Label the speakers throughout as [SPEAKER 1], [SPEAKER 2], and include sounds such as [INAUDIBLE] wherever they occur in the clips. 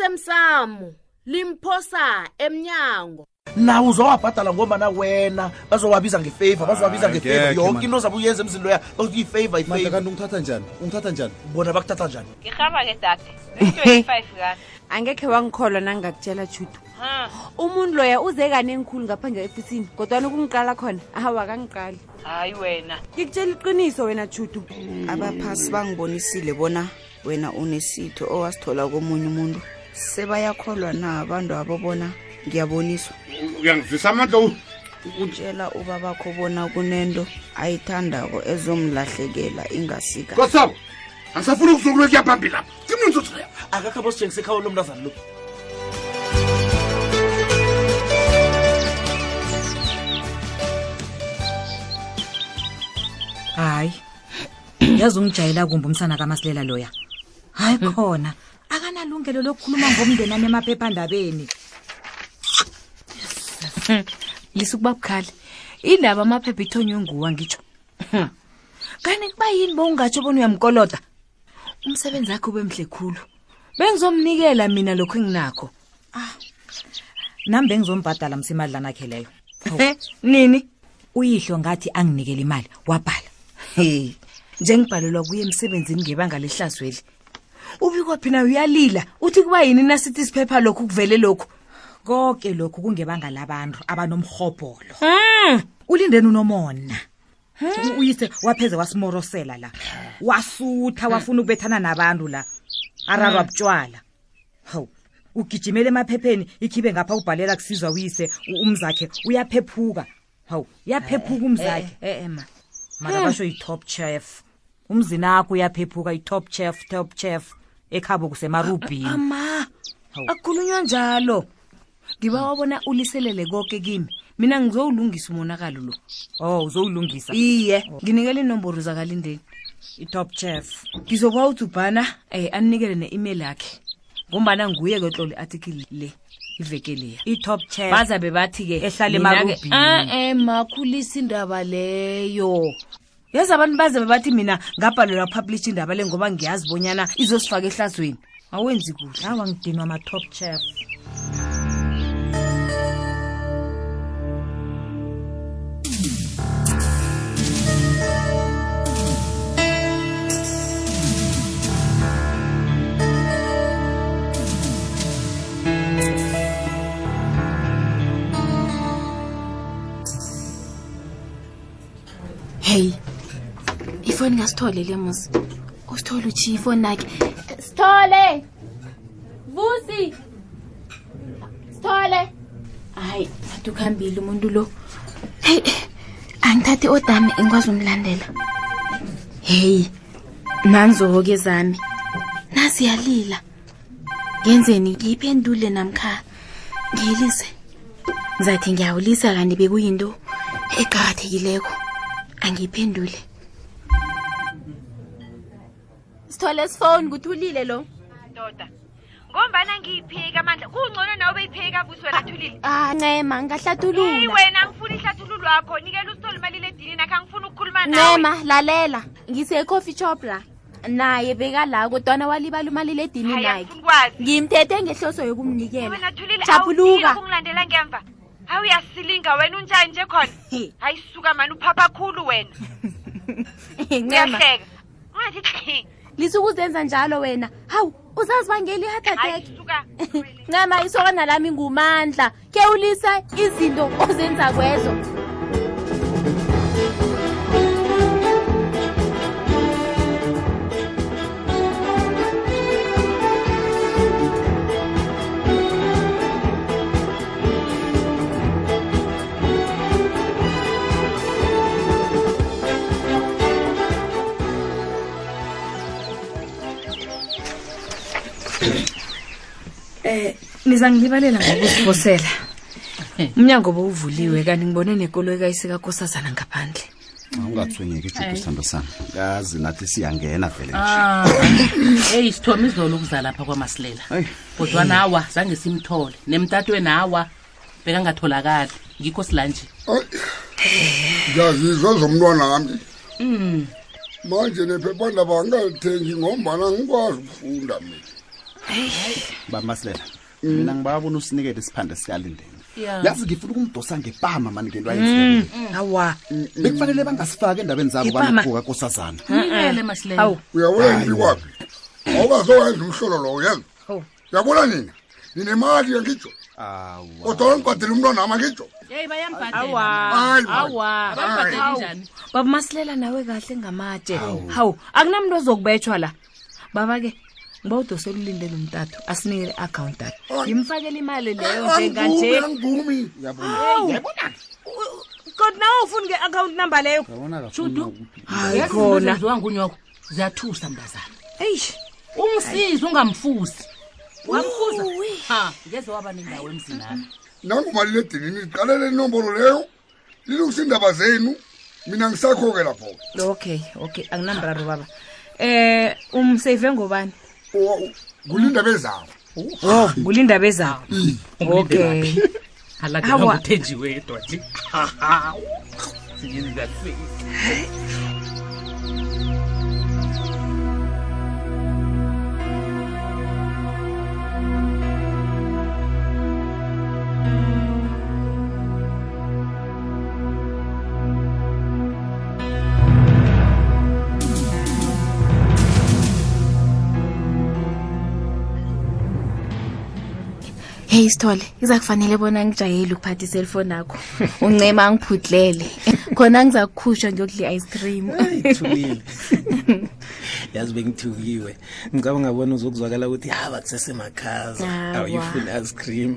[SPEAKER 1] osemsamo limphosa emnyango
[SPEAKER 2] nawe uzowabhadala ngombana wena bazowabiza ngefavor bazowabiza
[SPEAKER 3] Hayi,
[SPEAKER 2] ngefavor
[SPEAKER 3] ngekhe,
[SPEAKER 2] yonke
[SPEAKER 3] Ah, man.
[SPEAKER 2] into zabe uyenza emzini loya bazokuyifavor
[SPEAKER 3] madla
[SPEAKER 2] ifavor
[SPEAKER 3] kanti ungithatha njani ungithatha njani
[SPEAKER 2] bona bakuthatha njani
[SPEAKER 4] ngihamba-ke dade i-twenty-five kani
[SPEAKER 5] angekhe wangikholwa nangingakutshela judu
[SPEAKER 4] Hmm.
[SPEAKER 5] umuntu loya uze kanenkkhulu ngapha ngefusini kodwana ukungiqala khona awakangiqali
[SPEAKER 4] hayi wena
[SPEAKER 5] ngikutshela iqiniso wena judu
[SPEAKER 6] abaphasi bangibonisile bona wena unesitho owasithola komunye umuntu sebayakholwa na abantu abo bona ngiyaboniswa
[SPEAKER 7] uyangivisa amandla u-
[SPEAKER 6] utshela ubabakho bona kunento ayithandako ezomlahlekela ingasika
[SPEAKER 7] nkosi yabo angisafuna ukuzungulwe kuya phambili lapha kimni nizotshaya
[SPEAKER 2] akakho abositshengisa ekhawo lo mntazana lo
[SPEAKER 8] hayi yazi ungijayela kumbi umsana kamasilela loya hayi khona akanalungelo lokukhuluma ngomndenami emaphephandabeni
[SPEAKER 9] lisukuba bukhali indaba amaphepha ithonywe nguwa ngitsho kanti kuba yini bowungatsho bona uyamkoloda umsebenzi akhe ube mhle khulu bengizomnikela mina lokhu enginakho
[SPEAKER 8] Ah. nami bengizombhadala msimadlana khe leyo
[SPEAKER 9] nini
[SPEAKER 8] uyihlo ngathi anginikele imali wabhala
[SPEAKER 9] hey njengibhalelwa kuye emsebenzini ngebanga lehlazweli ubikwaphi nayo uyalila uthi kuba yini nasithi siphepha lokhu kuvele lokhu
[SPEAKER 8] konke lokhu kungebanga labantu abanomhobholo
[SPEAKER 9] Mm.
[SPEAKER 8] ulindeni unomona U- uyise wapheze wasimorosela la wasutha wafuna ukubethana nabantu la ararwa butshwala hawu ugijimela emaphepheni ikhibe ngapha ubhalela kusizwa uyise u- umzakhe uyaphephuka hawu uyaphephuka umzakhe
[SPEAKER 9] eh eh, ma
[SPEAKER 8] mara basho yi-top chef umzinakho uyaphephuka yi-top chef top chef ekhabo kusemarubhini
[SPEAKER 9] ama akukhulunywa njalo ngiba wabona uliselele konke kimi mina ngizowulungisa umonakalo lo
[SPEAKER 8] oh uzowulungisa
[SPEAKER 9] iye nginikele inomboro zakalindeni
[SPEAKER 8] i-top chef
[SPEAKER 9] ngizokuwa udubhana um aninikele ne-email yakhe ngombana nguye ketlole i-athikili le ivekeleya
[SPEAKER 8] i-top chef
[SPEAKER 9] bazabe bathi-ke
[SPEAKER 8] Ehlala
[SPEAKER 9] mina-ke-
[SPEAKER 8] emarubhini.
[SPEAKER 9] Ah, eh makhulisa indaba leyo yazi abantu bazabe bathi mina ngabhalelwa publish indaba le ngoba ngiyazi bonyana izosifaka ehlazweni awenzi kuhle
[SPEAKER 8] awa ngidinwa ma-top chef
[SPEAKER 10] heyi ifoni ngasithole le muzi usithole utshiya ifoni nakhe sithole vusi sithole hayi adukuhambile umuntu lo heyi angithathi odami ngikwazi umlandela heyi nanzo-ke zami naziyalila ngenzeni ngiyiphendule namkha ngiyilise ngizathi ngiyawulisa kanti bekuyinto eqakathekileko angiyiphendule sithole sifoni kuthulile lo
[SPEAKER 4] ndoda ngombana ngiyiphika amandla kungcono nawe beyiphika buswe lathulile
[SPEAKER 10] Ah, ncema
[SPEAKER 4] eyi
[SPEAKER 10] ngihlathulula
[SPEAKER 4] wena angifuni ihlathululo wakho nikela usitole imalile edinini akhe angifuni ukukhuluma nawe
[SPEAKER 10] ncema lalela ngisecoffee shop la naye bekala kodwana walibala umaliledinini
[SPEAKER 4] hayi
[SPEAKER 10] nakhe
[SPEAKER 4] angifuni kwazi
[SPEAKER 10] ngimthethe ngehloso yokumnikela
[SPEAKER 4] wena thulile
[SPEAKER 10] Jabuluka.
[SPEAKER 4] awukungilandela ngemva hawu uyasilinga wena unjani nje khona hayi suka mani uphapha khulu wena
[SPEAKER 10] ncema
[SPEAKER 4] uyahleka ungathi
[SPEAKER 10] lisuke uzenza njalo wena hawu uzazi bangeli
[SPEAKER 4] hayi
[SPEAKER 10] ihathateke
[SPEAKER 4] suka
[SPEAKER 10] ncema isokana lami ngumandla ke ulisa izinto ozenza kwezo
[SPEAKER 9] nizangilibalela ngokuziphosela
[SPEAKER 8] [LAUGHS]
[SPEAKER 9] umnyango bowuvuliwe kanti ngibone nekolo ekayisekakosazana ngaphandle
[SPEAKER 3] ungathwenyeki ijudu sithando sami kazi nathi siyangena vele
[SPEAKER 11] Ah,
[SPEAKER 12] eyi sithome izolo ukuza lapha kwamasilela
[SPEAKER 3] Hayi.
[SPEAKER 12] kodwana awa zange simthole nemtatweni awa bekangatholakali ngikho silanje
[SPEAKER 7] ngiyazizwa zomntwana wami manje nephephandaba angalithengi ngombana ngikwazi ukufunda mina
[SPEAKER 3] bamasilela mina ngibabona usinikele isiphande sikalindeni
[SPEAKER 9] Ya.
[SPEAKER 3] yazi ngifuna ukumdosa ngepama mani ngento
[SPEAKER 9] Mm.
[SPEAKER 3] ayenzileyo awa bekufanele bangasifaki endabeni zabo
[SPEAKER 9] Ngepama.
[SPEAKER 3] banephuka kosazana
[SPEAKER 9] Nikele masilela
[SPEAKER 7] uyabona ngithi kwaphi awukazowenza umhlolo lowo yeza uyabona nina ninemali yangitsho kodwa nibhadele umntwana ama ngitsho
[SPEAKER 9] yeyi
[SPEAKER 7] Awa. Hayi, man. Hayi.
[SPEAKER 9] baba masilela nawe kahle ngamatshe hawu akunamntu ozokubetshwa la baba ke ngiba udosela ulinde lo mtathu asinikele i-akhawunti
[SPEAKER 5] Oh.
[SPEAKER 9] akhe ngimfakele imali leyo njenganje
[SPEAKER 7] angivumi
[SPEAKER 9] Hawu. kodwa nawe ufuni nge-akhawunti number leyo
[SPEAKER 12] Chudu.
[SPEAKER 9] Hayi
[SPEAKER 12] Yazi
[SPEAKER 9] khona.
[SPEAKER 12] izinto ezenziwa ngunyoko ziyathusa mntazana
[SPEAKER 9] eish
[SPEAKER 12] ungisize ungamfuzi wamfuza ha ngeze waba nendawo emzinami
[SPEAKER 7] nangumaliledinini liqalele inombolo leyo lilungisa iindaba zenu mina ngisakho-ke lapho
[SPEAKER 9] okay okay akunamraro baba eh umsave ngobani
[SPEAKER 7] kulindaba ezawo
[SPEAKER 9] oh ngulindaba ezawo okay Awa.
[SPEAKER 12] alauthenjiwedwa nje
[SPEAKER 10] heyi sithole iza kufanele bona ngijayeli ukuphatha iselfoni akho uncema angiphudlele khona ngiza kukhutshwa ngiyokudla i-ice cream
[SPEAKER 11] thulile [LAUGHS] yazi bengithukiwe ngicabanga bona uzokuzwakala ukuthi "Ah, ha bakusesemakhaza
[SPEAKER 10] Awa.
[SPEAKER 11] awuyifuni ice cream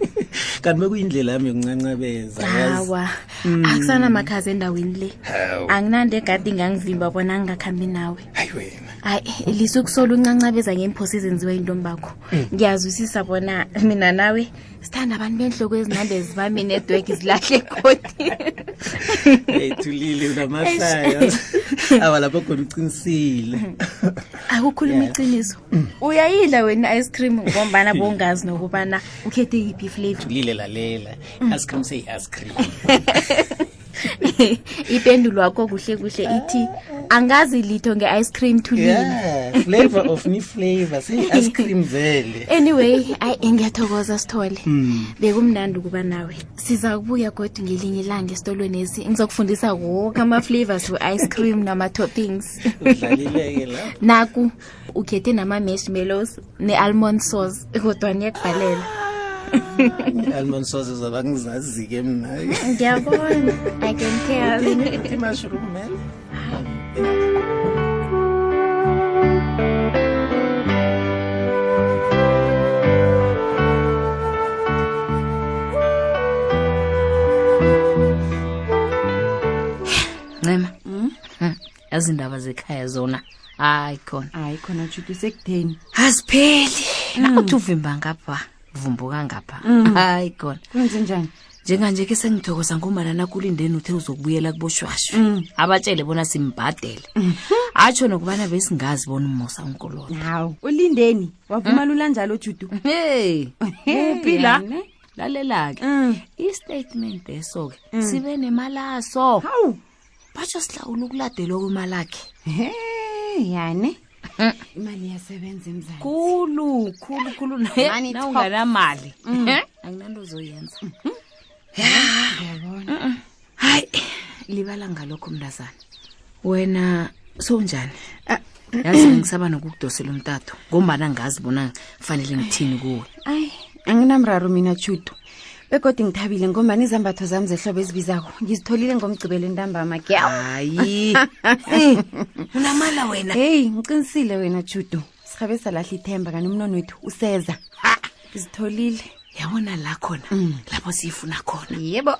[SPEAKER 11] [LAUGHS] kanti bekuyindlela yami yokuncancabeza yazi.
[SPEAKER 10] hawa akusenamakhazi endaweni le
[SPEAKER 11] Hawu.
[SPEAKER 10] anginanto egadi ngangivimba bona ngingakhambi nawe
[SPEAKER 11] hayi wena
[SPEAKER 10] hayi lisukusola uncancabeza ngeemphoso ezenziwa yintombi bakho ngiyazwisisa bona mina nawe sithanda abantu beenhloko ezinambe zibami network zilahle egodi
[SPEAKER 11] eyi thulile unamahlaya [LAUGHS] awa lapho khona ucinisile
[SPEAKER 10] akukhuluma iqiniso
[SPEAKER 11] Mm.
[SPEAKER 10] uyayidla wena ice cream
[SPEAKER 11] [LAUGHS]
[SPEAKER 10] ngombana bongazi nokubana ukhethe yiphi iflavor [LAUGHS]
[SPEAKER 11] thulile lalela ice cream seyi-ice cream
[SPEAKER 10] ipendulo wakho kuhle kuhle ithi angazi litho nge-ice cream thulile
[SPEAKER 3] [LAUGHS]
[SPEAKER 11] yeah flavor of new flavor seyi-ice cream vele
[SPEAKER 10] anyway ayi ngiyathokoza sithole
[SPEAKER 11] Mm.
[SPEAKER 10] bekumnandi ukuba nawe siza kubuya kodwa ngelinye ilanga esitolweni esi ngizokufundisa woke ama-flavors we-ice cream nama-toppings
[SPEAKER 11] udlalileke la
[SPEAKER 10] naku ukhethe nama-mashmallows ne-almond sauce kodwa niyakubhalela
[SPEAKER 11] i-almond sauce zoba ngizazi-ke mna
[SPEAKER 10] ngiyabona i can tell
[SPEAKER 9] ncema Hmm, yazi indaba zekhaya zona hayi khona Mm.
[SPEAKER 5] hayi khona judu sekutheni
[SPEAKER 9] azipheli nauthi uvimba ngapha vumbuka ngapha
[SPEAKER 5] Mm.
[SPEAKER 9] hayi khona
[SPEAKER 5] kwenzenjani
[SPEAKER 9] njenganje ke sengithokoza ngomana nakulindeni uthe uzokubuyela kuboshwashwa
[SPEAKER 5] Mm.
[SPEAKER 9] abatshele bona simbhadele atsho nokubana besingazi bona umosa unkoloda
[SPEAKER 5] hawu ulindeni wavumala ulanjalo judu
[SPEAKER 9] hey kuphi la
[SPEAKER 5] yani. Mm.
[SPEAKER 9] lalela-ke istatement eso ke sibe nemalaso
[SPEAKER 5] hawu
[SPEAKER 9] batsho silawula ukuladelwa kwemalakhe
[SPEAKER 5] yani
[SPEAKER 9] Mm.
[SPEAKER 5] imali yasebenza emzali
[SPEAKER 9] khulu khulu khulu
[SPEAKER 5] Money talks.
[SPEAKER 9] nawunganamali
[SPEAKER 5] Mm.
[SPEAKER 9] anginanto ozoyenza
[SPEAKER 5] yabona
[SPEAKER 9] hayi libala ngalokho mntazana wena sowunjani yazi ngisaba nokukudosela umtato ngombana ngazi bona kufanele ngithini kuwe
[SPEAKER 5] ayi anginamraro mina judu begodi ngithabile ngombani izambatho zami zehlobo ezibizako ngizitholile ngomgcibelo entambama
[SPEAKER 9] hayi unamala wena
[SPEAKER 5] heyi ngicinisile wena judu sihabe salahla ithemba kanti umnono wethu useza ngizitholile
[SPEAKER 9] yabona la khona lapho siyifuna khona
[SPEAKER 5] yebo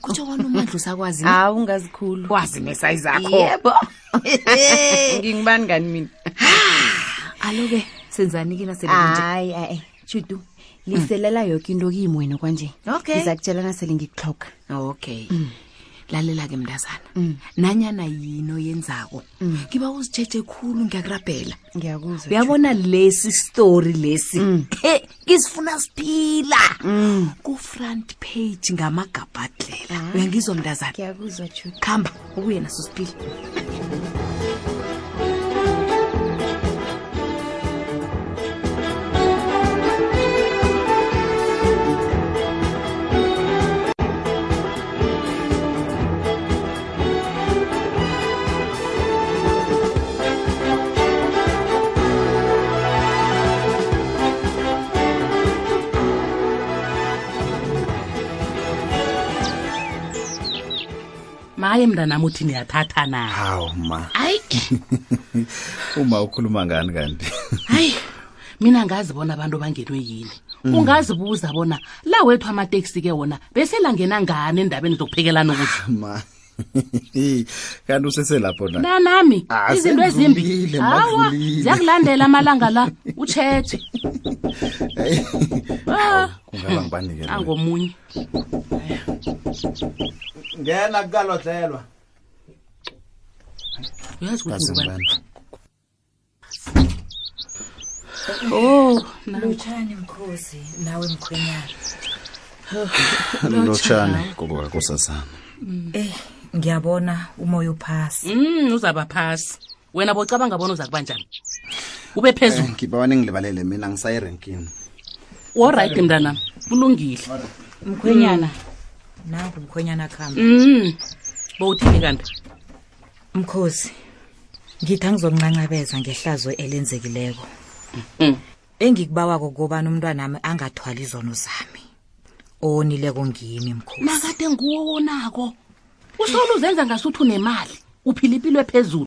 [SPEAKER 9] kutsho kona umandla usakwazi na?
[SPEAKER 5] hawu ngazikhulu
[SPEAKER 9] wazi nesayi zakho
[SPEAKER 5] yebo [LAUGHS] ngingibani ngani mina
[SPEAKER 9] alo-ke senzani-ke nasebenje
[SPEAKER 5] hayi ayi judu liselela yoke into kimi wena kwanje
[SPEAKER 9] Okay.
[SPEAKER 5] iza kutshelana sele ngikuxhoga
[SPEAKER 9] okay lalela-ke mntazana nanyana yini oyenzako ngiba uzitshetshe khulu ngiyakurabhela
[SPEAKER 5] ngiyakuzwa
[SPEAKER 9] uyabona lesi story lesi Mm. he isifuna siphila ku-front page ngamagabhadlela uyangizwa mntazana
[SPEAKER 5] ngiyakuzwa judu
[SPEAKER 9] khamba ukuye naso siphile
[SPEAKER 6] naye mntanam uthi niyathatha na
[SPEAKER 11] hawu ma
[SPEAKER 6] hayi
[SPEAKER 11] [LAUGHS] uma ukhuluma ngani kanti
[SPEAKER 6] hayi mina ngazi bona abantu bangenwe yini
[SPEAKER 11] Mm.
[SPEAKER 6] ungazibuza bona la wethu amateksi ke wona beselangena ngani endabeni zokuphekelana kuzo
[SPEAKER 11] ma [LAUGHS] kanti useselapho na
[SPEAKER 6] nanami
[SPEAKER 11] Ah,
[SPEAKER 6] izinto ezimbi
[SPEAKER 11] sendlulile,
[SPEAKER 6] hawa
[SPEAKER 11] madlulile.
[SPEAKER 6] ziyakulandela amalanga la
[SPEAKER 11] [LAUGHS]
[SPEAKER 6] utshetshe Ah.
[SPEAKER 11] kungaba ngibanike lo.
[SPEAKER 6] angomunye
[SPEAKER 13] ngena kukalodlelwa
[SPEAKER 6] uyazi
[SPEAKER 13] Kazi
[SPEAKER 6] ukuthi ngubani o
[SPEAKER 9] lutshani mkhozi nawe mkhwenyana
[SPEAKER 11] lotshani gobo kakosazana
[SPEAKER 9] eyi ngiyabona umoya uphasi
[SPEAKER 6] um uzaba phasi wena bocabanga bona uza kuba njani ube phezulu
[SPEAKER 11] ngibawa ningilibalele mina ngisayirenkini
[SPEAKER 6] olright mntanam kulungile
[SPEAKER 9] mkhwenyana nangu mkhwenyana khamba
[SPEAKER 6] um bowuthini kanti
[SPEAKER 9] mkhozi ngithi angizonqanqabeza ngehlazo elenzekileko
[SPEAKER 6] Mm.
[SPEAKER 9] engikubawako kukobana umntwanami angathwali izono zami owonileko ngimi mkhozi
[SPEAKER 6] nakade nguwo wonako usolo uzenza ngasuthi unemali uphila impilo ephezulu